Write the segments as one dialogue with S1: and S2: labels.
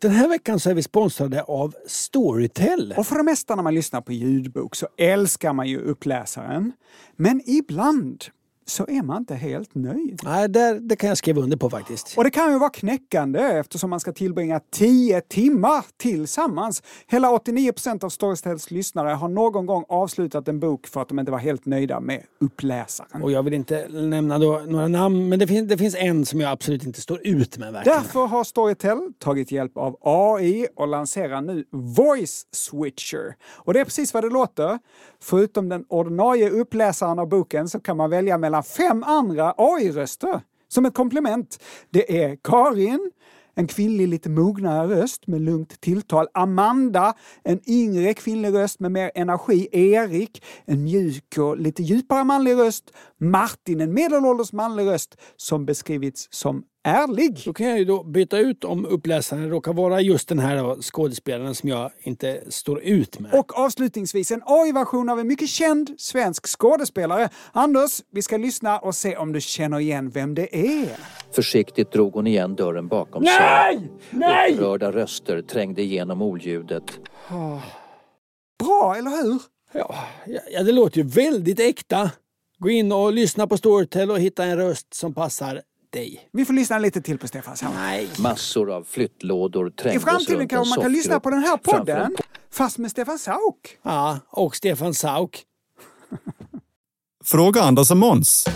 S1: Den här veckan så är vi sponsrade av Storytel.
S2: Och för det mesta när man lyssnar på ljudbok så älskar man ju uppläsaren. Men ibland så är man inte helt nöjd.
S1: Nej, där, det kan jag skriva under på faktiskt.
S2: Och det kan ju vara knäckande eftersom man ska tillbringa 10 timmar tillsammans. Hela 89 av Storytels lyssnare har någon gång avslutat en bok för att de inte var helt nöjda med uppläsaren.
S1: Och jag vill inte nämna då några namn, men det, fin- det finns en som jag absolut inte står ut med verkligen.
S2: Därför har Storytel tagit hjälp av AI och lanserar nu Voice Switcher. Och det är precis vad det låter. Förutom den ordinarie uppläsaren av boken så kan man välja mellan fem andra AI-röster som ett komplement. Det är Karin, en kvinnlig lite mognare röst med lugnt tilltal. Amanda, en yngre kvinnlig röst med mer energi. Erik, en mjuk och lite djupare manlig röst. Martin, en medelålders manlig röst som beskrivits som ärlig.
S1: Då kan jag ju då byta ut om uppläsaren råkar vara just den här då, skådespelaren som jag inte står ut med.
S2: Och avslutningsvis en AI-version av en mycket känd svensk skådespelare. Anders, vi ska lyssna och se om du känner igen vem det är.
S3: Försiktigt drog hon igen dörren bakom sig.
S1: Nej! Nej!
S3: Upprörda röster trängde igenom oljudet.
S2: Bra, eller hur?
S1: Ja, ja, det låter ju väldigt äkta. Gå in och lyssna på Storytel och hitta en röst som passar dig.
S2: Vi får lyssna lite till på Stefan Sauk.
S1: Nej.
S3: Massor av flyttlådor
S2: I
S3: trängdes
S2: framtiden
S3: runt
S2: kanske
S3: en
S2: man kan lyssna
S3: soffgrupp
S2: på den här
S3: framför en
S2: podden, fast med Stefan Sauk.
S1: Ja, och Stefan Sauk.
S4: Fråga Anders och Måns.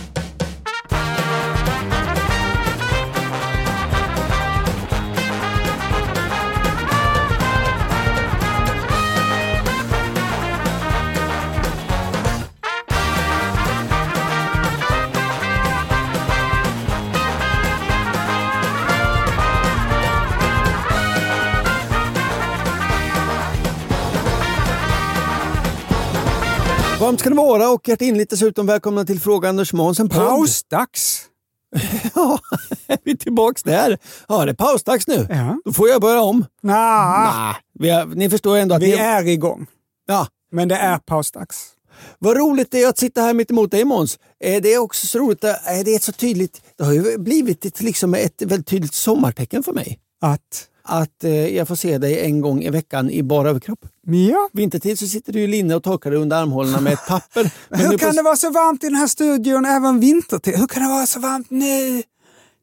S5: Varmt ska det vara och hjärtinligt dessutom välkomna till Fråga Anders Måns, en paus.
S2: Pausdags!
S5: Ja, är vi tillbaks där. Ja, det är pausdags nu.
S2: Ja.
S5: Då får jag börja om.
S2: Nja,
S5: Ah, vi har, ni förstår ändå att
S2: vi
S5: ni...
S2: är igång.
S5: Ja,
S2: Men det är pausdags.
S5: vad roligt det är att sitta här mitt emot dig Måns. Eh, Det är också så roligt, att- eh, det är så tydligt, det har ju blivit ett, liksom ett väldigt tydligt sommartecken för mig.
S2: Att?
S5: Att eh, jag får se dig en gång i veckan i bara överkropp.
S2: Ja.
S5: Vintertid så sitter du i linne och torkar dig under armhålorna med ett papper. Men nu
S2: Hur
S5: på
S2: kan det vara så varmt i den här studion även vintertid? Hur kan det vara så varmt nu?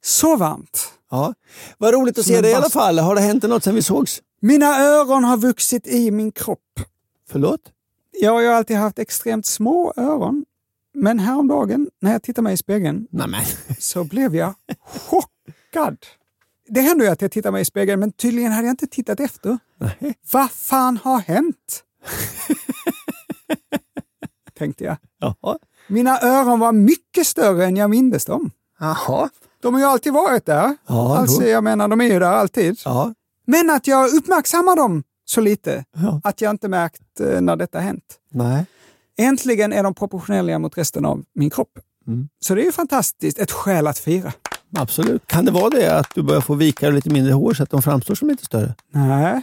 S2: Så varmt.
S5: Ja. Vad roligt att
S2: Som
S5: se
S2: en
S5: dig i alla
S2: bast-
S5: fall. Har det hänt något sen vi sågs?
S2: Mina öron har vuxit i min kropp.
S5: Förlåt?
S2: Ja, jag har alltid haft extremt små öron. Men häromdagen när jag tittade mig i spegeln
S5: Nej, men.
S2: så blev jag chockad. Det hände ju att jag tittade mig i spegeln men tydligen hade jag inte tittat efter. Vad fan har hänt? Tänkte jag.
S5: Jaha.
S2: Mina öron var mycket större än jag mindes dem.
S5: Jaha.
S2: De har ju alltid varit där.
S5: Ja,
S2: alltså,
S5: då.
S2: jag menar, de är ju där alltid.
S5: Ja.
S2: Men att jag uppmärksammar dem så lite
S5: Ja.
S2: att jag inte märkt eh, när detta hänt.
S5: Nej.
S2: Äntligen är de proportionella mot resten av min kropp.
S5: Mm.
S2: Så det är ju fantastiskt. Ett skäl att fira.
S5: Absolut. Kan det vara det att du börjar få vikar och lite mindre hår så att de framstår som lite större?
S2: Nej,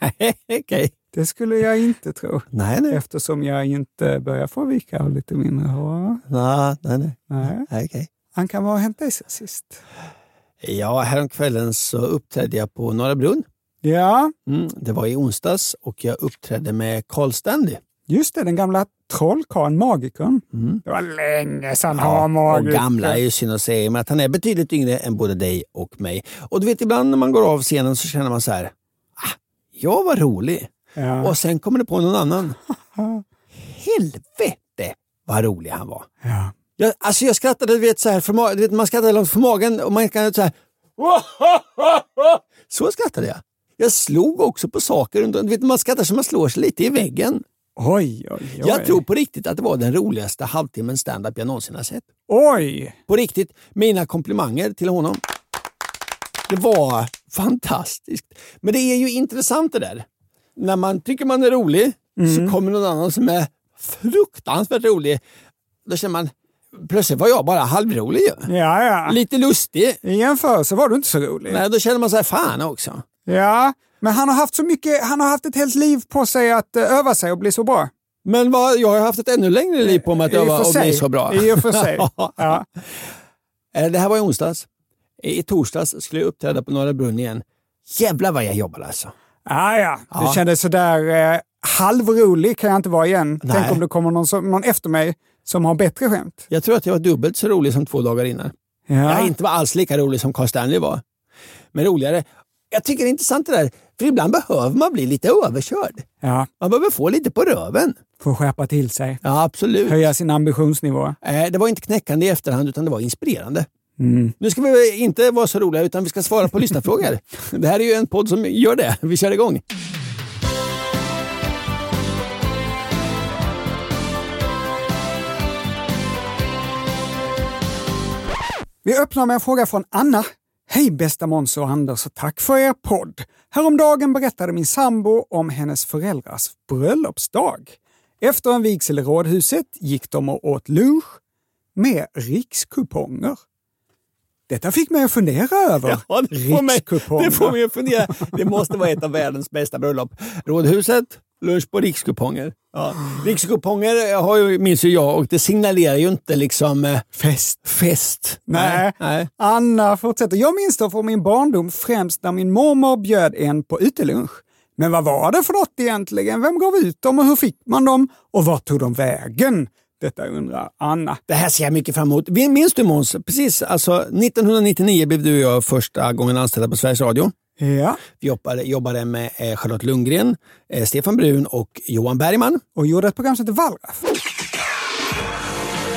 S5: Nej, okej.
S2: det skulle jag inte tro.
S5: Nej, nej.
S2: Eftersom jag inte börjar få vika och lite mindre hår.
S5: Nej, nej, nej.
S2: Nej.
S5: nej okej.
S2: Han kan vara och hämta sig sist.
S5: Ja, häromkvällen så uppträdde jag på Norra Brunn.
S2: Ja,
S5: Mm, det var i onsdags och jag uppträdde med Carl Stanley.
S2: just det. Den gamla trollkarlen, magikern. Det var länge sedan han var
S5: Mm. och
S2: magiker.
S5: gamla är ju synd att säga, men att han är betydligt yngre än både dig och mig. Och du vet, ibland när man går av scenen så känner man så här, ah, jag var rolig.
S2: Ja.
S5: Och sen kommer det på någon annan. Helvete vad rolig han var.
S2: Ja.
S5: Jag, alltså jag skrattade, du vet, så här, för ma- du vet, man skrattade långt från magen och man kan så här. Så skrattade jag. Jag slog också på saker runt om- du vet, Man skrattar så man slår sig lite i väggen.
S2: Oj, oj, oj.
S5: Jag tror på riktigt att det var den roligaste halvtimmen standup jag någonsin har sett.
S2: Oj!
S5: På riktigt, mina komplimanger till honom. Det var fantastiskt. Men det är ju intressant det där. När man tycker man är rolig
S2: Mm.
S5: så kommer någon annan som är fruktansvärt rolig. Då känner man, plötsligt var jag bara halvrolig ju.
S2: Ja, ja.
S5: Lite lustig.
S2: I jämförelse var du inte så rolig.
S5: Nej, då känner man så här, fan också.
S2: Ja, men han har haft så mycket, han har haft ett helt liv på sig att eh, öva sig och bli så bra.
S5: Men vad, jag har haft ett ännu längre liv på mig att
S2: I
S5: jag
S2: och för
S5: var och
S2: sig.
S5: blev så bra.
S2: I och för sig. Ja.
S5: Eh, Det här var i onsdags. I i torsdags skulle jag uppträda på Norra Brunn igen. Jävlar vad jag jobbade alltså.
S2: Ah, ja. Du kände sådär eh, halvrolig kan jag inte vara igen.
S5: Nej.
S2: Tänk om det kommer någon, som, någon efter mig som har bättre skämt.
S5: Jag tror att jag var dubbelt så rolig som två dagar innan.
S2: Ja.
S5: Jag inte var alls lika rolig som Carl Stanley var. Men roligare. Jag tycker det är intressant det där, för ibland behöver man bli lite överkörd.
S2: ja,
S5: Man behöver få lite på röven.
S2: får skärpa till sig.
S5: Ja, absolut.
S2: Höja sin ambitionsnivå.
S5: Eh, Det var inte knäckande i efterhand, utan det var inspirerande. Nu ska vi inte vara så roliga, utan vi ska svara på lyssnarfrågor. Det här är ju en podd som gör det. Vi kör igång.
S2: Vi öppnar med en fråga från Anna. Hej bästa Måns och Anders och tack för er podd. Häromdagen berättade min sambo om hennes föräldrars bröllopsdag. Efter en vigsel i Rådhuset gick de och åt lunch med rikskuponger. Detta fick mig att fundera över
S5: Ja, det får, mig,
S2: rikskuponger.
S5: det får mig att fundera. Det måste vara ett av världens bästa bröllop. Rådhuset, lunch på rikskuponger. Ja. Rikskuponger har ju, minns ju jag och det signalerar ju inte liksom eh,
S2: Fest.
S5: fest.
S2: Nej.
S5: Nej.
S2: Anna fortsätter. Jag minns det från min barndom främst när min mormor bjöd en på utelunch. Men vad var det för något egentligen? Vem gav ut dem och hur fick man dem? Och vart tog de vägen? Detta undrar Anna.
S5: Det här ser jag mycket fram emot. Vi- Minns du Måns? Precis, alltså 1999 blev du och jag första gången anställda på Sveriges Radio.
S2: Ja,
S5: Vi jobbade, jobbade med eh, Charlotte Lundgren, eh, Stefan Brun och Johan Bergman.
S2: och gjorde ett program som hette Wallraff.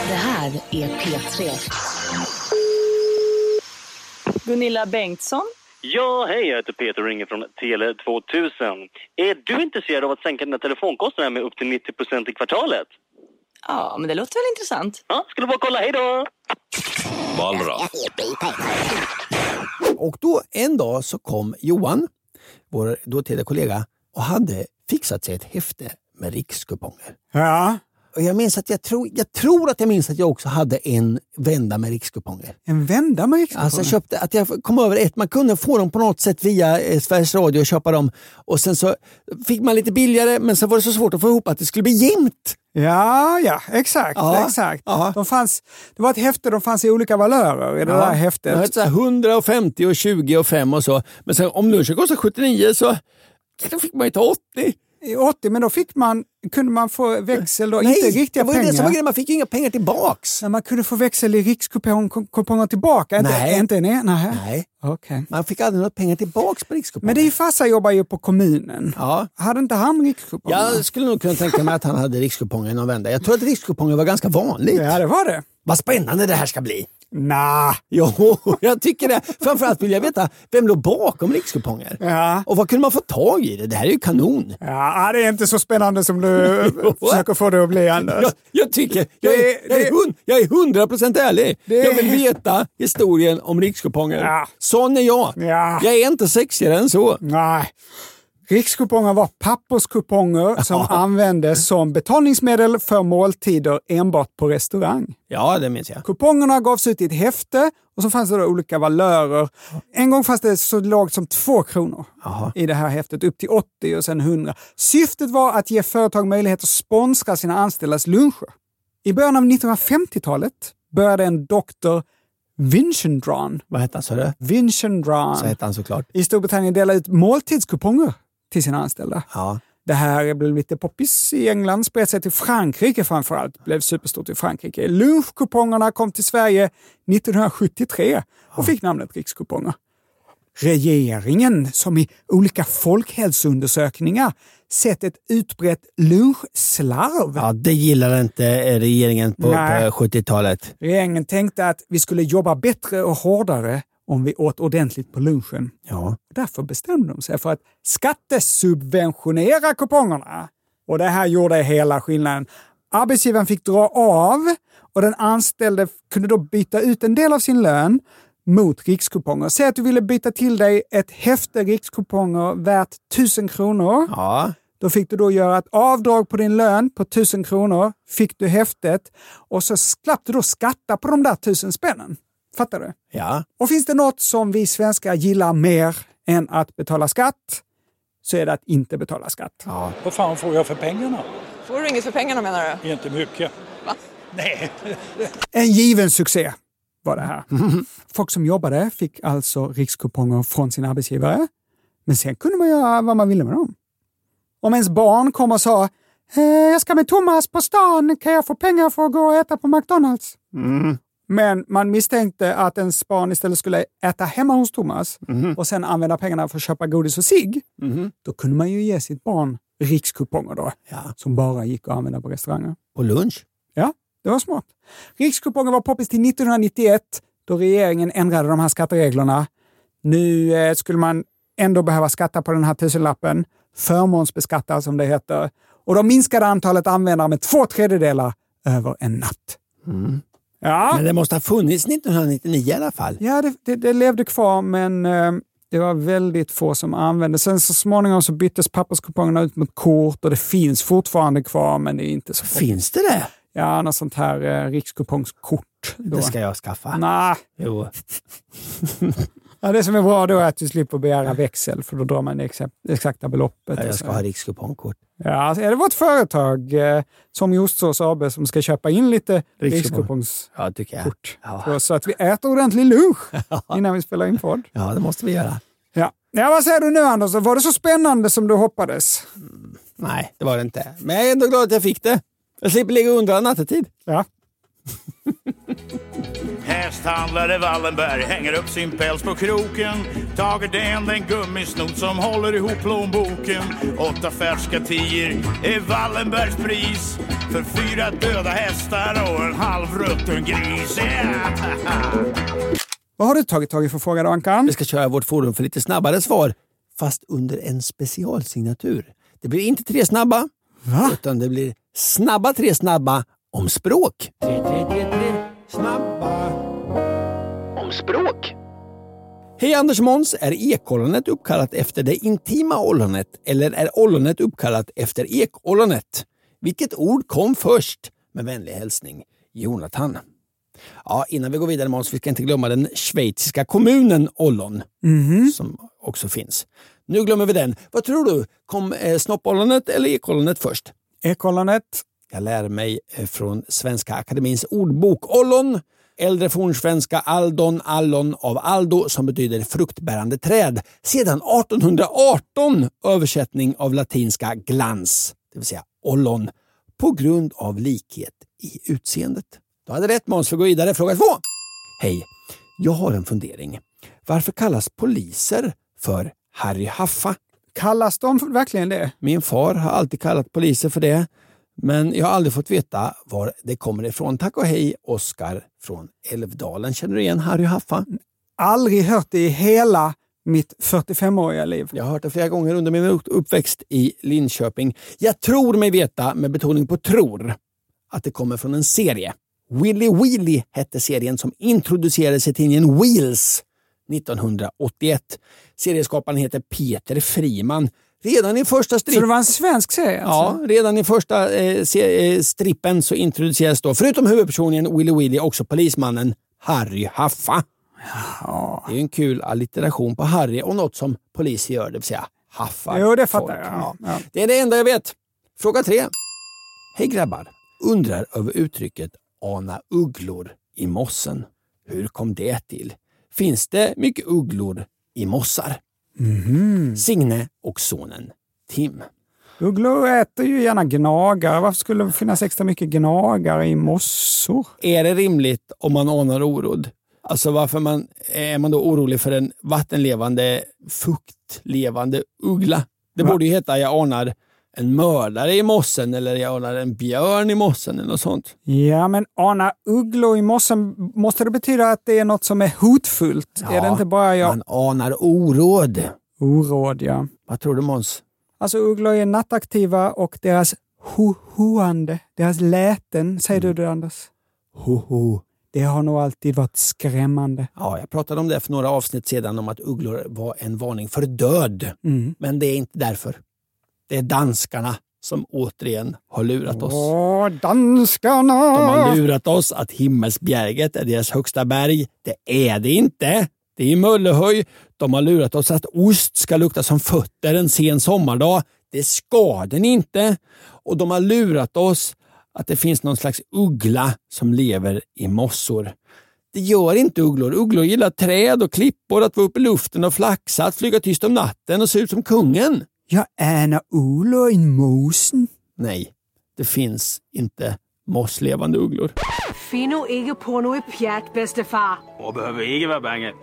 S4: Det här är P3.
S6: Gunilla Bengtsson.
S7: Ja, hej, jag heter Peter och ringer från Tele2000. Är du intresserad av att sänka dina telefonkostnader med upp till 90 i kvartalet?
S6: Ja, men det låter väl intressant.
S7: Ja, skulle bara kolla, hej då!
S5: Och då en dag så kom Johan, vår dåtida kollega, och hade fixat sig ett häfte med rikskuponger.
S2: Ja,
S5: Och jag, minns att jag, tror, jag tror att jag minns att jag också hade en vända med rikskuponger.
S2: en vända med rikskuponger.
S5: Alltså jag köpte, att jag kom över ett, man kunde få dem på något sätt via eh, Sveriges Radio och köpa dem. Och sen så fick man lite billigare men sen var det så svårt att få ihop att det skulle bli jämnt.
S2: Ja, ja, exakt.
S5: Ja.
S2: exakt.
S5: Ja.
S2: De fanns, det var ett häfte, de fanns i olika valörer i det där
S5: Jag
S2: häftet.
S5: hörde så här 150 och 20 och 5 och så. Men sen om lunchen kostade 79 så då fick man ju ta 80.
S2: I 80, men då fick man, kunde man få växel då, inte riktiga
S5: det var ju
S2: pengar.
S5: det som var grejen. Man fick ju inga pengar tillbaks.
S2: Så man kunde få växel i rikskuponger tillbaka?
S5: Nej.
S2: Inte, inte, nej. nej.
S5: Nej,
S2: Okej.
S5: man fick aldrig några pengar tillbaks på rikskuponger.
S2: Men din farsa jobbar ju på kommunen.
S5: Ja.
S2: Hade inte han rikskuponger?
S5: Jag skulle nog kunna tänka mig att han hade rikskuponger i någon vända. Jag tror att rikskuponger var ganska vanligt.
S2: ja, det var det.
S5: Vad spännande det här ska bli.
S2: Nah.
S5: Jo, jag tycker det. Framförallt vill jag veta, vem låg bakom rikskuponger?
S2: Ja.
S5: Och vad kunde man få tag i? Det Det här är ju kanon.
S2: Ja, ah, det är inte så spännande som du försöker få det att bli, Anders.
S5: Jag, jag tycker, jag
S2: Det-
S5: är, jag är,
S2: det-
S5: hund, jag är 100 procent ärlig.
S2: Det-
S5: Jag vill veta historien om rikskuponger.
S2: Ja.
S5: Sån är jag.
S2: Ja.
S5: Jag är inte sexigare än så.
S2: Nej. Rikskuponger var papperskuponger som användes som betalningsmedel för måltider enbart på restaurang.
S5: Ja, det minns jag.
S2: Kupongerna gavs ut i ett häfte och så fanns det då olika valörer. En gång fanns det så lågt som 2 kronor i det här häftet, upp till 80 och sen 100. Syftet var att ge företag möjlighet att sponsra sina anställdas luncher. I början av 1950-talet började en doktor Vinchendran,
S5: Vad hette han sa du? Så
S2: Vinchendran
S5: hette han såklart.
S2: i Storbritannien dela ut måltidskuponger till sina anställda.
S5: Ja.
S2: Det här blev lite poppis i England, spred sig till Frankrike framförallt. Blev superstort i Frankrike. Lunchkupongerna kom till Sverige 1973 och fick namnet rikskuponger. Regeringen, som i olika folkhälsoundersökningar sett ett utbrett lunchslarv.
S5: Ja, det gillar inte eh, regeringen på, på
S2: Nej.
S5: 70-talet.
S2: Regeringen tänkte att vi skulle jobba bättre och hårdare om vi åt ordentligt på lunchen.
S5: Ja.
S2: Därför bestämde de sig för att skattesubventionera kupongerna. Och det här gjorde hela skillnaden. Arbetsgivaren fick dra av och den anställde kunde då byta ut en del av sin lön mot rikskuponger. Säg att du ville byta till dig ett häfte rikskuponger värt 1000 kronor.
S5: Ja.
S2: Då fick du då göra ett avdrag på din lön på 1000 kronor, fick du häftet och så slapp du då skatta på de där 1000 spännen. Fattar du?
S5: Ja.
S2: Och finns det något som vi svenskar gillar mer än att betala skatt så är det att inte betala skatt.
S8: Vad fan får jag för pengarna?
S9: Får du inget för pengarna menar du?
S8: Inte mycket. Nej.
S2: En given succé var det här. Folk som jobbade fick alltså rikskuponger från sin arbetsgivare. Men sen kunde man göra vad man ville med dem. Om ens barn kom och sa eh, “Jag ska med Thomas på stan, kan jag få pengar för att gå och äta på McDonalds?” Men man misstänkte att ens barn istället skulle äta hemma hos Thomas och sen använda pengarna för att köpa godis och cigg. Då kunde man ju ge sitt barn rikskuponger då, som bara gick att använda på restauranger.
S5: På lunch?
S2: Ja, det var smart. Rikskupongen var poppis till 1991 då regeringen ändrade de här skattereglerna. Nu eh, skulle man ändå behöva skatta på den här tusenlappen, förmånsbeskatta som det heter, och de minskade antalet användare med två tredjedelar över en natt. Ja,
S5: Mm. Men det måste ha funnits 1999 i alla fall.
S2: ja det, det, det levde kvar men eh, det var väldigt få som använde. Sen så småningom så byttes papperskupongerna ut mot kort och det finns fortfarande kvar men det är inte så få.
S5: Finns det det?
S2: Ja, något sånt här eh, rikskupongskort. Då.
S5: Det ska jag skaffa.
S2: Nej.
S5: Jo.
S2: Ja, det som är bra då är att du slipper begära växel, för då drar man det exa- exakta beloppet.
S5: Ja, Jag ska ha rikskupongkort.
S2: ja, alltså, är det vårt företag, eh, som Jostsås AB, som ska köpa in lite
S5: Rikskupong.
S2: rikskupongskort
S5: Ja, tycker jag. Ja.
S2: ja. så att vi äter ordentlig lunch innan vi spelar in podd?
S5: ja, det måste vi göra.
S2: Ja. ja, vad säger du nu Anders? Var det så spännande som du hoppades?
S5: Nej, det var det inte. Men jag är ändå glad att jag fick det. Jag slipper ligga och undra nattetid.
S2: Ja.
S10: Hästhandlare Wallenberg hänger upp sin päls på kroken. Tager den den gummisnodd som håller ihop plånboken. Åtta färska tior är Wallenbergs pris. För fyra döda hästar och en halvrutten gris. Yeah!
S2: Vad har du tagit tag i för fråga då,
S5: Vi
S2: Ankan?
S5: ska köra vårt forum för lite snabbare svar, fast under en specialsignatur. Det blir inte tre snabba, utan det blir snabba tre snabba om språk. Tre, tre, tre, tre, snabba.
S3: Om språk?
S5: Hej Anders Måns! Är ekollonet uppkallat efter det intima ollonet eller är ollonet uppkallat efter ekollonet? Vilket ord kom först? Med vänlig hälsning, Jonathan. Ja, innan vi går vidare Måns, vi ska inte glömma den schweiziska kommunen Ollon som också finns. Nu glömmer vi den. Vad tror du? Kom eh, snoppollonet eller ekollonet först?
S2: Ekollonet.
S5: Jag lär mig eh, från Svenska Akademins ordbok Ollon, äldre fornsvenska Aldon Allon av Aldo som betyder fruktbärande träd. Sedan 1818 översättning av latinska glans, det vill säga ollon, på grund av likhet i utseendet. Du hade rätt Måns, vi går vidare. Fråga två. Hej, jag har en fundering. Varför kallas poliser för Harry Haffa?
S2: Kallas de verkligen det?
S5: Min far har alltid kallat poliser för det, men jag har aldrig fått veta var det kommer ifrån. Tack och hej, Oskar från Älvdalen. Känner du igen Harry Haffa?
S2: Aldrig hört det i hela mitt 45-åriga liv.
S5: Jag har hört det flera gånger under min upp- uppväxt i Linköping. Jag tror mig veta, med betoning på tror, att det kommer från en serie. Willy Wheely hette serien som introducerades i tidningen Wheels 1981. Serieskaparen heter Peter Friman. Redan i första
S2: Så
S5: strip...
S2: det var en svensk serie? Alltså?
S5: Ja, redan i första eh, se- eh, strippen så introduceras då, förutom huvudpersonen Willy Willy, också polismannen Harry Haffa. Det är ju en kul allitteration på Harry och något som poliser gör, det vill säga haffar.
S2: Jo, det
S5: folk.
S2: fattar jag. Ja.
S5: Det är det enda jag vet. Fråga tre. Hej grabbar! Undrar över uttrycket ana ugglor i mossen. Hur kom det till? Finns det mycket ugglor i mossar?
S2: Mhm.
S5: Signe och sonen Tim.
S2: Ugglor äter ju gärna gnagare. Varför skulle det finnas extra mycket gnagare i mossor?
S5: är det rimligt om man anar orodd? Alltså varför man, är man då orolig för en vattenlevande, fuktlevande uggla? Det borde ju heta jag anar en mördare i mossen eller jag anar en björn i mossen eller något sånt.
S2: Ja, men ana ugglor i mossen, måste det betyda att det är något som är hotfullt? är det inte bara jag...
S5: Man anar oråd.
S2: Oråd, ja.
S5: Vad tror du Måns?
S2: Alltså ugglor är nattaktiva och Mm. deras hohoande, deras läten, säger du det Anders?
S5: Hoho.
S2: Det har nog alltid varit skrämmande.
S5: Ja, jag pratade om det för några avsnitt sedan, om att ugglor var en varning för död.
S2: Mm.
S5: Men det är inte därför. Det är danskarna som återigen har lurat oss.
S2: Åh, danskarna!
S5: De
S2: Ah.
S5: har lurat oss att Himmelsbjerget är deras högsta berg. Det är det inte. Det är Möllehöj. De har lurat oss att ost ska lukta som fötter en sen sommardag. Det ska den inte. Och de har lurat oss att det finns någon slags uggla som lever i mossor. Det gör inte ugglor. Ugglor gillar träd och klippor, att vara uppe i luften och flaxa, att flyga tyst om natten och se ut som kungen.
S2: Jag äna ugglor i mosen.
S5: Nej, det finns inte mosslevande ugglor.
S11: Finno ikke på något pjärt, bäste far.
S12: Och behöver inte vara bange.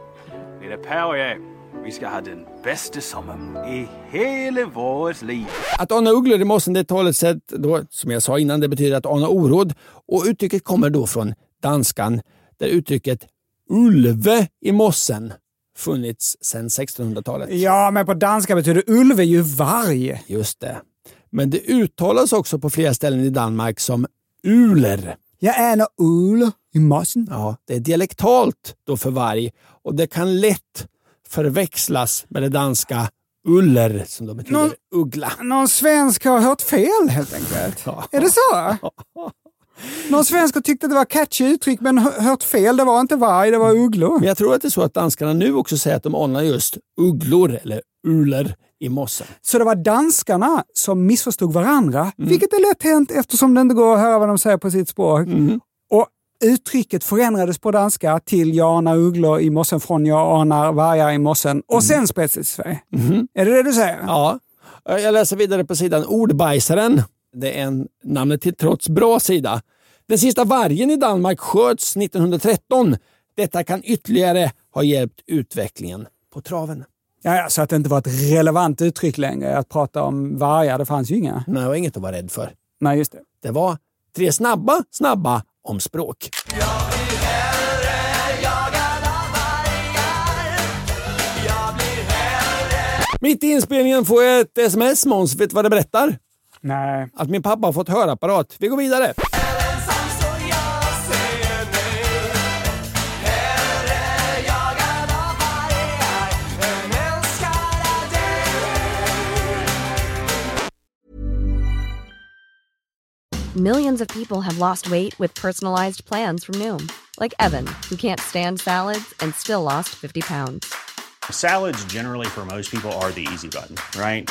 S12: Det är Per och jag. Vi ska ha den bästa sommaren i hela vårt liv.
S5: Att ana ugglor i mossen det är talesätt då, som jag sa innan, det betyder att ana oråd. Och uttrycket kommer då från danskan där uttrycket ulve i mossen funnits sedan 1600-talet.
S2: Ja, men på danska betyder ulve ju varg.
S5: Just det. Men det uttalas också på flera ställen i Danmark som uler.
S2: Jag äter ul i mossen.
S5: Ja, det är dialektalt då för varg och det kan lätt förväxlas med det danska uller som då betyder
S2: Någon-
S5: uggla.
S2: Någon svensk har hört fel helt enkelt.
S5: Ja.
S2: Är det så? Någon svensk har tyckt att det var catchy uttryck men hö- hört fel. Det var inte varg, det var ugglor.
S5: Men jag tror att det är så att danskarna nu också säger att de anar just ugglor eller uler i mossen.
S2: Så det var danskarna som missförstod varandra, vilket är lätt hänt eftersom det inte går att höra vad de säger på sitt språk. Och uttrycket förändrades på danska till jag anar ugglor i mossen från jag anar vargar i mossen och sen spreds det till Sverige. Är det det du säger?
S5: Ja. Eh, Jag läser vidare på sidan Ordbajsaren. Det är en namnet till trots bra sida. Den sista vargen i Danmark sköts 1913. Detta kan ytterligare ha hjälpt utvecklingen på traven.
S2: Ja, ja, så att det inte var ett relevant uttryck längre att prata om vargar. Det fanns ju inga.
S5: Men jag har inget att vara rädd för.
S2: Nej, just det.
S5: Det var tre snabba, snabba om språk. Mitt i inspelningen får jag ett sms, Måns. Vet du vad det berättar?
S2: Nej.
S5: Att min pappa har fått hörapparat. Vi går vidare.
S13: Millions of people have lost weight with personalized plans from Noom, like Evan, who can't stand salads and still lost 50 pounds.
S14: Salads, generally, for most people, are the easy button, right?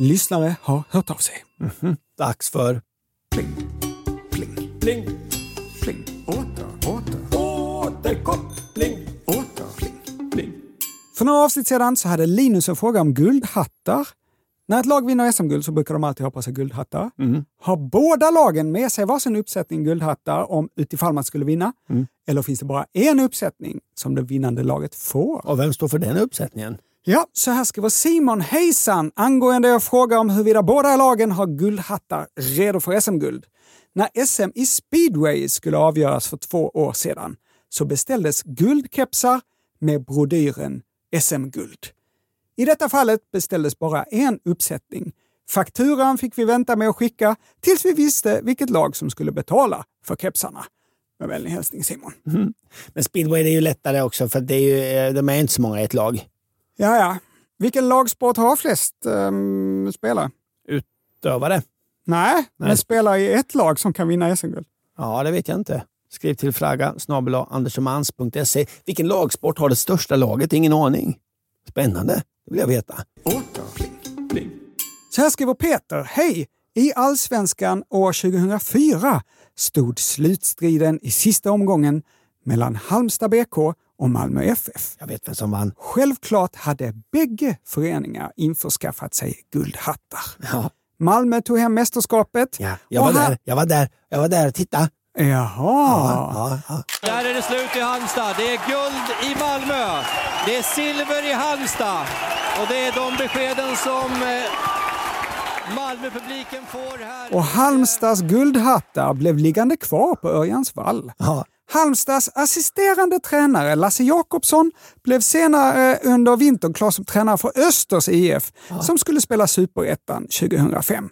S2: Lyssnare har hört av sig.
S5: Mhm. Dags för... Pling.
S10: Pling. Åter, åter.
S5: Återkoppling.
S2: För några avsnitt sedan så hade Linus en fråga om guldhattar. När ett lag vinner SM-guld så brukar de alltid ha på sig guldhattar.
S5: Mhm.
S2: Har båda lagen med sig varsin uppsättning guldhattar om utifall man skulle vinna?
S5: Mm.
S2: Eller finns det bara en uppsättning som det vinnande laget får?
S5: Och vem står för den uppsättningen?
S2: Ja, så här skriver Simon Hejsan angående er fråga om huruvida båda lagen har guldhattar redo för SM-guld. När SM i speedway skulle avgöras för två år sedan så beställdes guldkepsar med brodyren SM-guld. I detta fallet beställdes bara en uppsättning. Fakturan fick vi vänta med att skicka tills vi visste vilket lag som skulle betala för kepsarna. Med vänlig hälsning Simon.
S5: Men speedway det är ju lättare också för det är ju, eh, de är inte så många i ett lag.
S2: Ja, ja. Vilken lagsport har flest ehm, spelare?
S5: Dövare?
S2: Nej, men spelare i ett lag som kan vinna SM-guld.
S5: Ja, det vet jag inte. Skriv till fragga snabel andersomans.se. Vilken lagsport har det största laget? Ingen aning. Spännande. Det vill jag veta.
S2: Så här skriver Peter. Hej! I Allsvenskan år 2004 stod slutstriden i sista omgången mellan Halmstad BK och Malmö FF.
S5: Jag vet vem som vann.
S2: Självklart hade bägge föreningar införskaffat sig guldhattar.
S5: Ja.
S2: Malmö tog hem mästerskapet.
S5: Ja, jag, var
S2: och här-
S5: där, jag var där, jag var där, titta.
S2: Jaha.
S5: Ja, ja,
S15: Där är det slut i Halmstad. Det är guld i Malmö. Det är silver i Halmstad. Och det är de beskeden som eh, Malmöpubliken får här.
S2: Och Halmstads guldhattar blev liggande kvar på Örjans vall. Halmstads assisterande tränare Lasse Jakobsson blev senare under vintern klar som tränare för Östers IF som skulle spela Superettan 2005.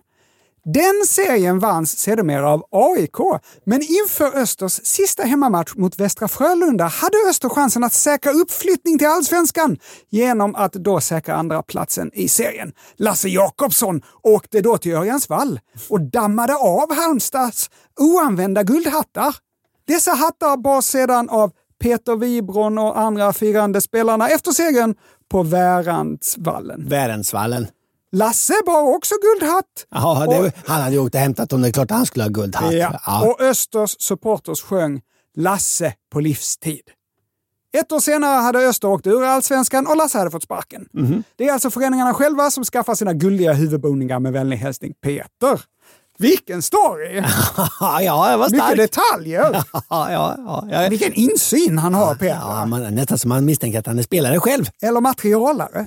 S2: Den serien vanns sedermera av AIK, men inför Östers sista hemmamatch mot Västra Frölunda hade Öster chansen att säkra uppflyttning till allsvenskan genom att då säkra andra platsen i serien. Lasse Jakobsson åkte då till Örjansvall och dammade av Halmstads oanvända guldhattar. Dessa hattar bars sedan av Peter Wibron och andra firande spelarna efter segern på Värandsvallen.
S5: Värensvallen.
S2: Lasse bar också guldhatt
S5: Ja, det,
S2: Och-
S5: han hade ju åkt och hämtat dem. Det är klart han skulle ha guldhatt.
S2: Ja.
S5: Ja.
S2: Och Östers supporters sjöng Lasse på livstid. Ett år senare hade Öster åkt ur allsvenskan och Lasse hade fått sparken.
S5: Mhm.
S2: Det är alltså föreningarna själva som skaffar sina gulliga huvudboningar med vänlig hälsning Peter. Vilken story!
S5: ja, det var starkt.
S2: Mycket detaljer!
S5: Ja, ja, ja, ja.
S2: Vilken insyn han har, Peter!
S5: Ja, man, nästan som man misstänker att han är spelare själv.
S2: Eller materialare.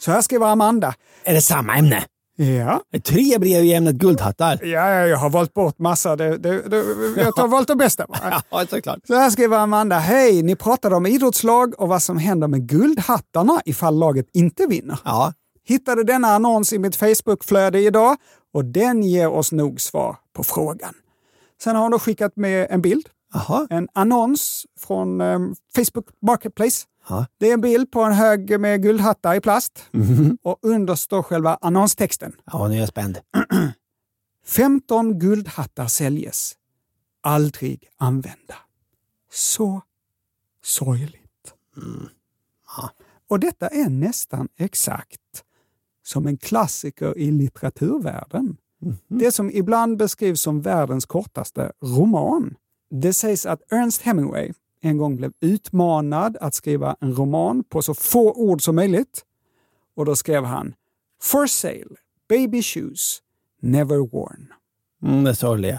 S2: Så här skriver Amanda.
S5: Är det samma ämne?
S2: Ja.
S5: Det är tre brev i ämnet guldhattar.
S2: Ja, ja, jag har valt bort massa. Det, det, det, jag har valt de bästa. va?
S5: Ja, såklart.
S2: Så här skriver Amanda. Hej, ni pratade om idrottslag och vad som händer med guldhattarna ifall laget inte vinner.
S5: Ja.
S2: Hittade denna annons i mitt Facebookflöde idag och den ger oss nog svar på frågan. Sen har hon då skickat med en bild.
S5: Jaha.
S2: En annons från eh, Facebook Marketplace.
S5: Ja.
S2: Det är en bild på en hög med guldhattar i plast
S5: Mhm.
S2: och under står själva annonstexten.
S5: ja, nu är jag spänd.
S2: 15 guldhattar säljes, aldrig använda. Så sorgligt. Och detta är nästan exakt som en klassiker i litteraturvärlden. Det som ibland beskrivs som världens kortaste roman. Det sägs att Ernest Hemingway en gång blev utmanad att skriva en roman på så få ord som möjligt. Och då skrev han For sale, baby shoes, never worn.
S5: Mm, det är sorgliga.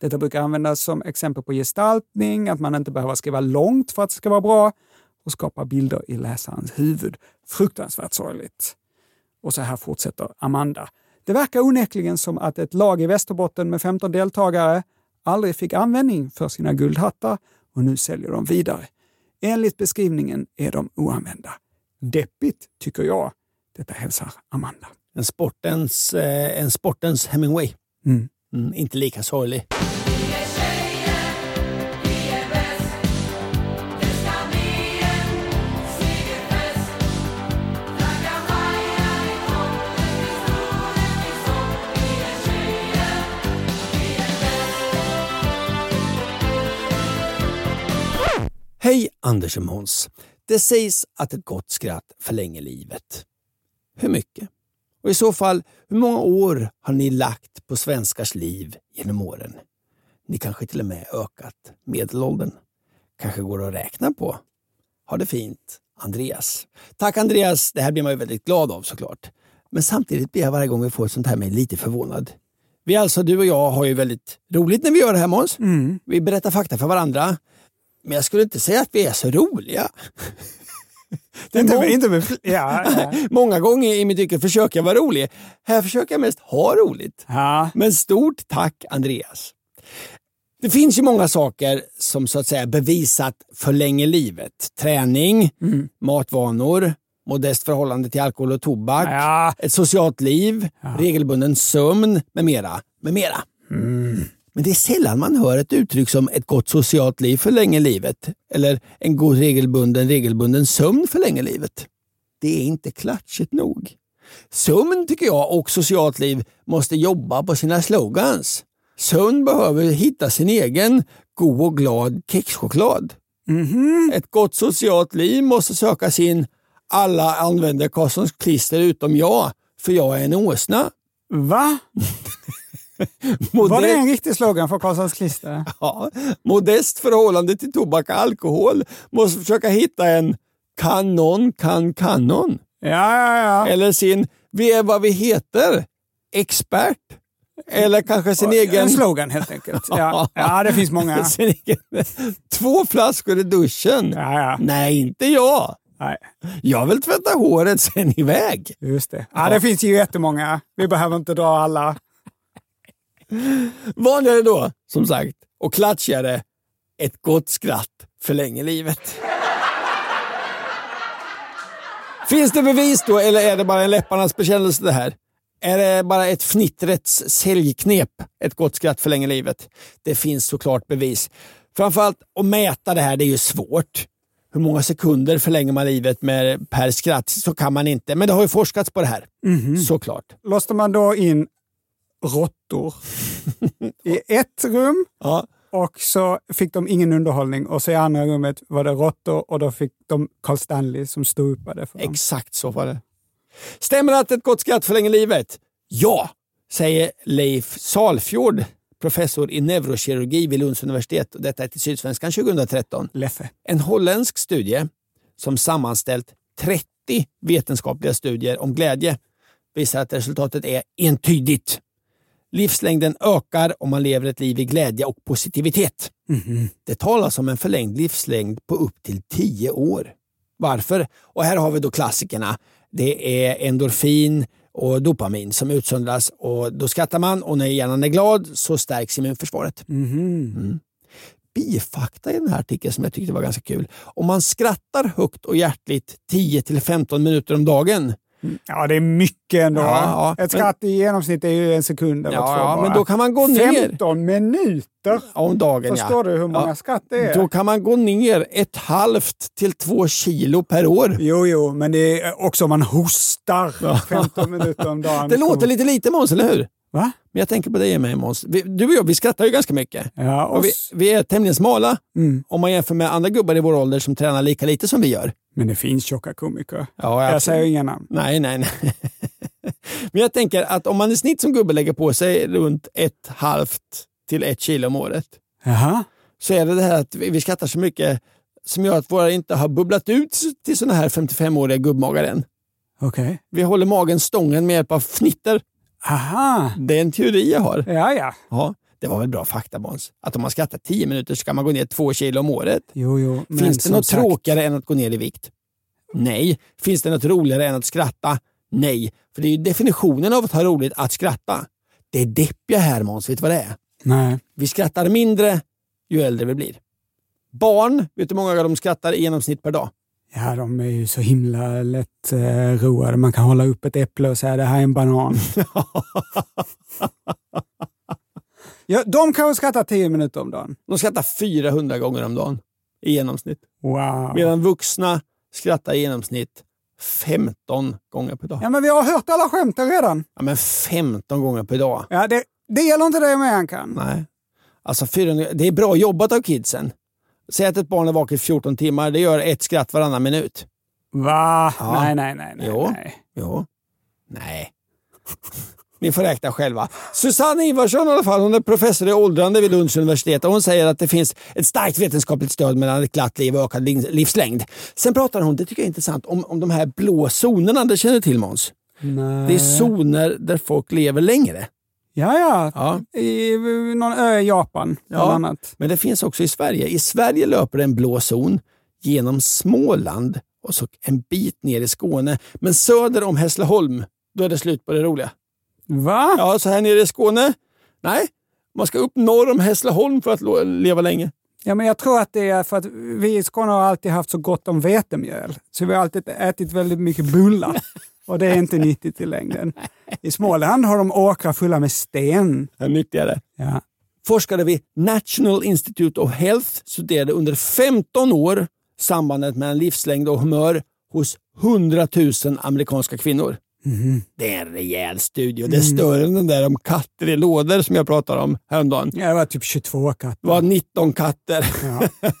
S2: Detta brukar användas som exempel på gestaltning, att man inte behöver skriva långt för att det ska vara bra och skapa bilder i läsarens huvud. Fruktansvärt sorgligt. Och så här fortsätter Amanda. Det verkar onekligen som att ett lag i Västerbotten med 15 deltagare aldrig fick användning för sina guldhattar och nu säljer de vidare. Enligt beskrivningen är de oanvända. Deppigt, tycker jag. Detta hälsar Amanda.
S5: En sportens, eh, en sportens Hemingway.
S2: Mm.
S5: Mm, inte lika sorglig. Hej Anders och Måns. Det sägs att ett gott skratt förlänger livet. Hur mycket? Och i så fall, hur många år har ni lagt på svenskars liv genom åren? Ni kanske till och med ökat medelåldern? Kanske går att räkna på? Ha det fint, Andreas. Tack Andreas, det här blir man ju väldigt glad av såklart. Men samtidigt blir jag varje gång vi får ett sånt här mejl lite förvånad. Vi alltså, du och jag, har ju väldigt roligt när vi gör det här Måns. Vi berättar fakta för varandra. Men jag skulle inte säga att vi är så roliga. Det är mång-
S2: med fl- ja, ja.
S5: Många gånger i mitt yrke försöker jag vara rolig. Här försöker jag mest ha roligt.
S2: ja.
S5: Men stort tack Andreas. Det finns ju många saker som så att säga bevisat förlänger livet. Träning, matvanor, modest förhållande till alkohol och tobak,
S2: Ja.
S5: ett socialt liv, regelbunden sömn med mera. Med mera. Men det är sällan man hör ett uttryck som ett gott socialt liv förlänger livet eller en god regelbunden regelbunden sömn förlänger livet. Det är inte klatschigt nog. Sömn tycker jag och socialt liv måste jobba på sina slogans. Sömn behöver hitta sin egen god och glad kexchoklad. Ett gott socialt liv måste söka sin alla använder Karlssons klister utom jag, för jag är en åsna.
S2: Va? Var det en riktig slogan för Karlssons klister?
S5: Ja, modest förhållande till tobak och alkohol. Måste försöka hitta en kanon kan kanon.
S2: Ja, ja, ja.
S5: Eller sin vi är vad vi heter, expert. Eller kanske sin
S2: En
S5: egen...
S2: slogan helt enkelt. Ja, ja det finns många.
S5: Sin egen... Två flaskor i duschen. Nej, inte jag.
S2: Nej.
S5: Jag vill tvätta håret sen iväg.
S2: Just det. Ja, det finns ju jättemånga. Vi behöver inte dra alla.
S5: Vanligare då, som sagt, och klatschigare, ett gott skratt förlänger livet. Finns det bevis då, eller är det bara en läpparnas bekännelse det här? Är det bara ett fnittrets säljknep, ett gott skratt förlänger livet? Det finns såklart bevis. Framförallt att mäta det här, det är ju svårt. Hur många sekunder förlänger man livet med per skratt? Så kan man inte, men det har ju forskats på det här. Såklart.
S2: Låste man då in råttor i ett rum
S5: Ja.
S2: och så fick de ingen underhållning och så i andra rummet var det råttor och då fick de Carl Stanley som ståuppade för dem.
S5: Exakt så var det. Stämmer det att ett gott skratt förlänger livet? Ja, säger Leif Salfjord, professor i neurokirurgi vid Lunds universitet. Och Detta är till Sydsvenskan 2013.
S2: Leffe.
S5: En holländsk studie som sammanställt 30 vetenskapliga studier om glädje visar att resultatet är entydigt. Livslängden ökar om man lever ett liv i glädje och positivitet.
S2: Mhm.
S5: Det talas om en förlängd livslängd på upp till 10 år. Varför? Och här har vi då klassikerna. Det är endorfin och dopamin som utsöndras och då skrattar man och när hjärnan är glad så stärks immunförsvaret.
S2: Mhm.
S5: Mm. Bifakta i den här artikeln som jag tyckte var ganska kul. Om man skrattar högt och hjärtligt 10-15 minuter om dagen
S2: Ja, det är mycket ändå.
S5: Ja, ja.
S2: Ett skratt i genomsnitt är ju en sekund eller
S5: Ja,
S2: två
S5: ja,
S2: bara.
S5: men då kan man gå ner.
S2: 15 minuter!
S5: om dagen.
S2: Förstår
S5: ja.
S2: du hur många skratt det är?
S5: Då kan man gå ner ett halvt till två kilo per år.
S2: Jo, jo, men det är också om man hostar 15 minuter om dagen.
S5: Det låter lite lite Måns, eller hur?
S2: Va?
S5: Men jag tänker på dig och mig Måns. Vi- Du och jag, vi skrattar ju ganska mycket.
S2: Ja, och
S5: Och vi,
S2: s- mm.
S5: vi är tämligen smala om man jämför med andra gubbar i vår ålder som tränar lika lite som vi gör.
S2: Men det finns tjocka komiker.
S5: Ja,
S2: Jag
S5: absolut.
S2: säger inga namn.
S5: Nej, nej, nej. Men jag tänker att om man i snitt som gubbe lägger på sig runt ett halvt till ett kilo om året
S2: Jaha.
S5: så är det det här att vi vi skrattar så mycket som gör att våra inte har bubblat ut till sådana här 55-åriga gubbmagar än.
S2: Okej.
S5: Vi håller magen stången med hjälp av fnitter.
S2: Aha.
S5: Det är en teori jag har.
S2: Ja, ja.
S5: Ja, det var väl bra fakta Måns? Att om man skrattar 10 minuter så kan man gå ner 2 kilo om året.
S2: Jo, jo. men
S5: Finns det
S2: som
S5: något
S2: sagt-
S5: tråkigare än att gå ner i vikt? Nej. Finns det något roligare än att skratta? Nej. För det är ju definitionen av att ha roligt att skratta. Det är deppiga här Måns, vet du vad det är?
S2: Nej.
S5: Vi skrattar mindre ju äldre vi blir. Barn, vet du hur många de skrattar i genomsnitt per dag?
S2: Ja, de är ju så himla lätt eh, roade. Man kan hålla upp ett äpple och säga det här är en banan. ja, de kanske skrattar 10 minuter om dagen.
S5: De skrattar 400 gånger om dagen i genomsnitt.
S2: Wow.
S5: Medan vuxna skrattar i genomsnitt 15 gånger per dag.
S2: Ja, men vi har hört alla skämten redan.
S5: Ja, men 15 gånger per dag.
S2: Ja, det, det gäller inte dig med Ankan.
S5: Nej. Alltså 400, det är bra jobbat av kidsen. Säg att ett barn är vaket 14 timmar, det gör ett skratt varannan minut.
S2: Va?
S5: Ja.
S2: Nej, nej, nej. nej,
S5: Jo.
S2: nej.
S5: Jo. Nej. Ni får räkna själva. Susanne Ivarsson i alla fall, hon är professor i åldrande vid Lunds universitet och hon säger att det finns ett starkt vetenskapligt stöd mellan ett glatt liv och ökad liv- livslängd. Sen pratar hon, det tycker jag är intressant, om, om de här blå zonerna, det känner du till Måns?
S2: nej.
S5: Det är zoner där folk lever längre.
S2: Ja, ja.
S5: Ja.
S2: I eh, någon ö i Japan, bland
S5: Ja.
S2: annat.
S5: Men det finns också i Sverige. I Sverige löper en blå zon genom Småland och så en bit ner i Skåne. Men söder om Hässleholm, då är det slut på det roliga.
S2: Va?
S5: Ja, så här nere i Skåne? Nej, man ska upp norr om Hässleholm för att lo- leva länge.
S2: Ja, men jag tror att det är för att vi i Skåne har alltid haft så gott om vetemjöl. Så vi har alltid ätit väldigt mycket bullar. Och det är inte nyttigt i längden. I Småland har de åkrar fulla med sten.
S5: Det är nyttigare.
S2: Ja.
S5: Forskare vid National Institute of Health studerade under 15 år sambandet mellan livslängd och humör hos 100 000 amerikanska kvinnor. Det är en rejäl studie och det är större än den där om katter i lådor som jag pratade om häromdagen.
S2: Ja, det var typ 22 katter.
S5: Det var 19 katter.
S2: Ja.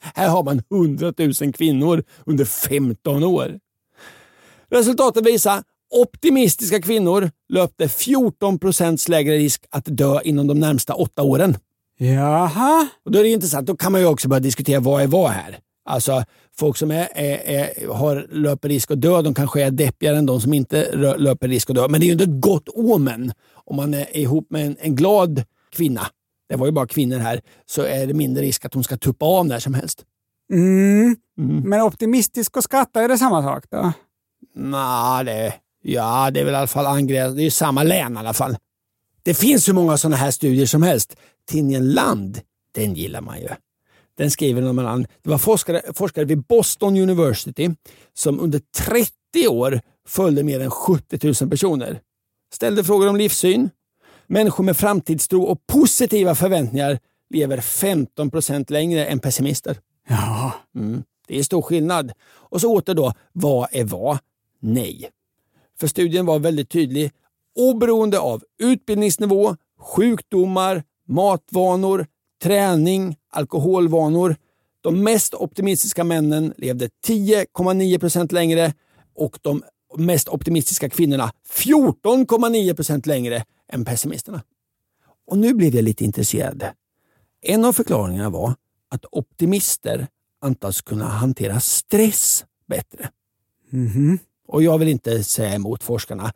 S5: Här har man 100 000 kvinnor under 15 år. Resultaten visar optimistiska kvinnor löpte 14 procents lägre risk att dö inom de närmsta åtta åren.
S2: Jaha?
S5: Och då är det intressant. Då kan man ju också börja diskutera vad är vad här. Alltså folk som är, är, är, har, löper risk att dö, de kanske är deppigare än de som inte rö, löper risk att dö. Men det är ju inte ett gott omen om man är ihop med en, en glad kvinna. Det var ju bara kvinnor här. Så är det mindre risk att hon ska tuppa av när som helst.
S2: Mm. Mm. Men optimistisk och skratta, är det samma sak då?
S5: Nej, det, ja, det är väl i alla fall angräns. Det är ju samma län i alla fall. Det finns hur många sådana här studier som helst. Tidningen Land, den gillar man ju. Den skriver om en annan. Det var forskare, forskare vid Boston University som under 30 år följde mer än 70 000 personer. Ställde frågor om livssyn. Människor med framtidstro och positiva förväntningar lever 15 procent längre än pessimister.
S2: Ja.
S5: Mm. Det är stor skillnad. Och så åter då, vad är vad? Nej. För studien var väldigt tydlig. Oberoende av utbildningsnivå, sjukdomar, matvanor, träning, alkoholvanor. De mest optimistiska männen levde 10,9 procent längre och de mest optimistiska kvinnorna 14,9 procent längre än pessimisterna. Och nu blev jag lite intresserad. En av förklaringarna var att optimister antas kunna hantera stress bättre.
S2: Mm-hmm.
S5: Och jag vill inte säga emot forskarna,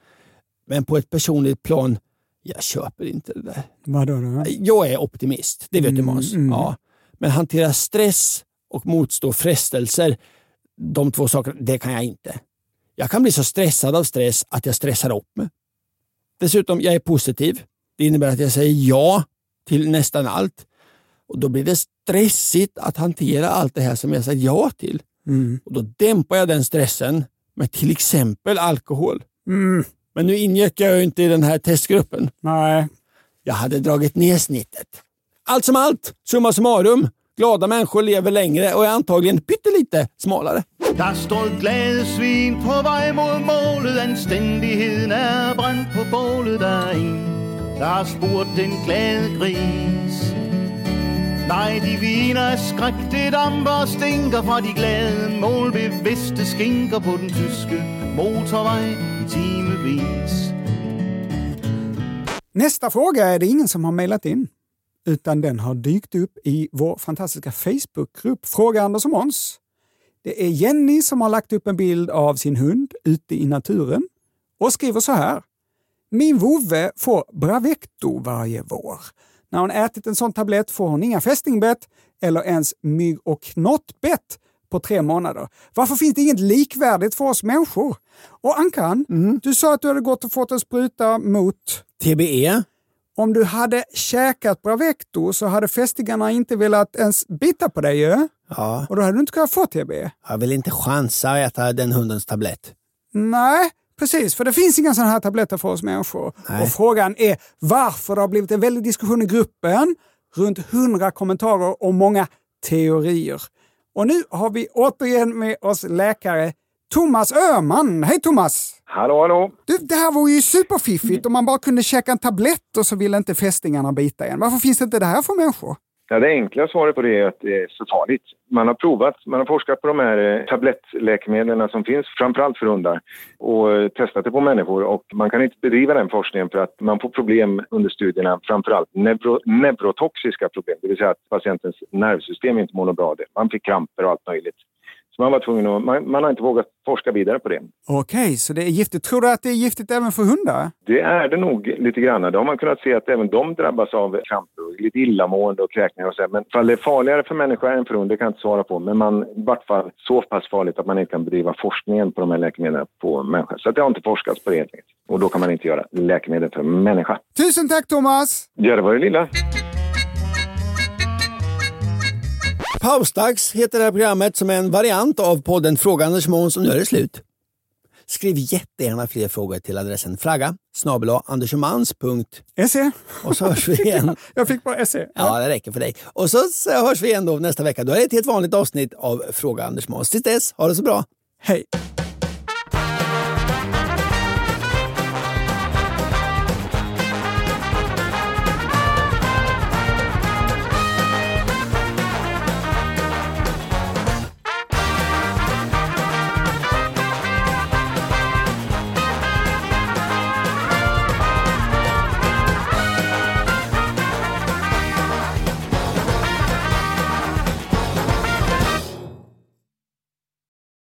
S5: men på ett personligt plan, jag köper inte det där.
S2: Vadå då?
S5: Jag är optimist, det vet mm, du Måns. Mm. Ja. Men hantera stress och motstå frestelser, de två sakerna, det kan jag inte. Jag kan bli så stressad av stress att jag stressar upp mig. Dessutom, jag är positiv. Det innebär att jag säger ja till nästan allt. Och Då blir det stressigt att hantera allt det här som jag sagt ja till.
S2: Mm.
S5: Och Då dämpar jag den stressen med till exempel alkohol.
S2: Mm.
S5: Men nu ingick jag ju inte i den här testgruppen.
S2: Nej.
S5: Jag hade dragit ner snittet. Allt som allt, summa summarum, glada människor lever längre och är antagligen pyttelite smalare.
S16: Der står glade svin på vej mot målet, anständigheten är bränd på bålet. Der er en, der har spurt den glade gris. Nej, de viner af skræk, det damper og stinker fra de glade målbevidste skinker på den tyske motorvej i timevis.
S2: Nästa fråga är det ingen som har mejlat in, utan den har dykt upp i vår fantastiska Facebookgrupp Fråga Anders och Måns. Det är Jenny som har lagt upp en bild av sin hund ute i naturen och skriver så här. Min vovve får Bravecto varje vår. När hon ätit en sån tablett får hon inga fästingbett eller ens mygg och knottbett på tre månader. Varför finns det inget likvärdigt för oss människor? Och Ankan, mm. du sa att du hade gått och fått en spruta mot...
S5: TBE?
S2: Om du hade käkat Bravecto så hade fästingarna inte velat ens bita på dig ju.
S5: Ja.
S2: Och då hade du inte kunnat få TBE.
S5: Jag vill inte chansa att äta den hundens tablett.
S2: Nej, Precis, för det finns inga sådana här tabletter för oss människor.
S5: Nej.
S2: Och frågan är varför det har blivit en väldig diskussion i gruppen, runt hundra kommentarer och många teorier. Och nu har vi återigen med oss läkare Thomas Öhman. Hej Thomas!
S17: Hallå, hallå!
S2: Du, det här vore ju superfiffigt om man bara kunde käka en tablett och så ville inte fästingarna bita en. Varför finns det inte det här för människor?
S17: Ja, det enkla svaret på det är att det är så farligt. Man har provat, man har forskat på de här eh, tablettläkemedlen som finns, framförallt för hundar, och eh, testat det på människor. Och man kan inte bedriva den forskningen för att man får problem under studierna, framförallt neuro, neurotoxiska problem, det vill säga att patientens nervsystem inte mår bra av det. Man fick kramper och allt möjligt. Så man var tvungen att, man, man har inte vågat forska vidare på det.
S2: Okej, okay, så det är giftigt. Tror du att det är giftigt även för hundar?
S17: Det är det nog lite grann. Det har man kunnat se att även de drabbas av kramper, lite illamående och kräkningar och så. Men fall det är farligare för människa än för hund, det kan jag inte svara på. Men man, i vart fall så pass farligt att man inte kan bedriva forskningen på de här läkemedlen på människa. Så det har inte forskats på det helt enkelt. Och då kan man inte göra läkemedel för människa.
S2: Tusen tack Thomas!
S17: Ja, det var det lilla.
S5: Pausdags heter det här programmet som är en variant av podden Fråga Anders Måns och nu är det slut. Skriv jättegärna fler frågor till adressen fragga
S2: Se.
S5: Och så hörs vi igen.
S2: Jag fick bara se.
S5: Ja, det räcker för dig. Och så hörs vi igen då nästa vecka. Då är det ett helt vanligt avsnitt av Fråga Anders Måns. Tills dess, ha det så bra.
S2: Hej.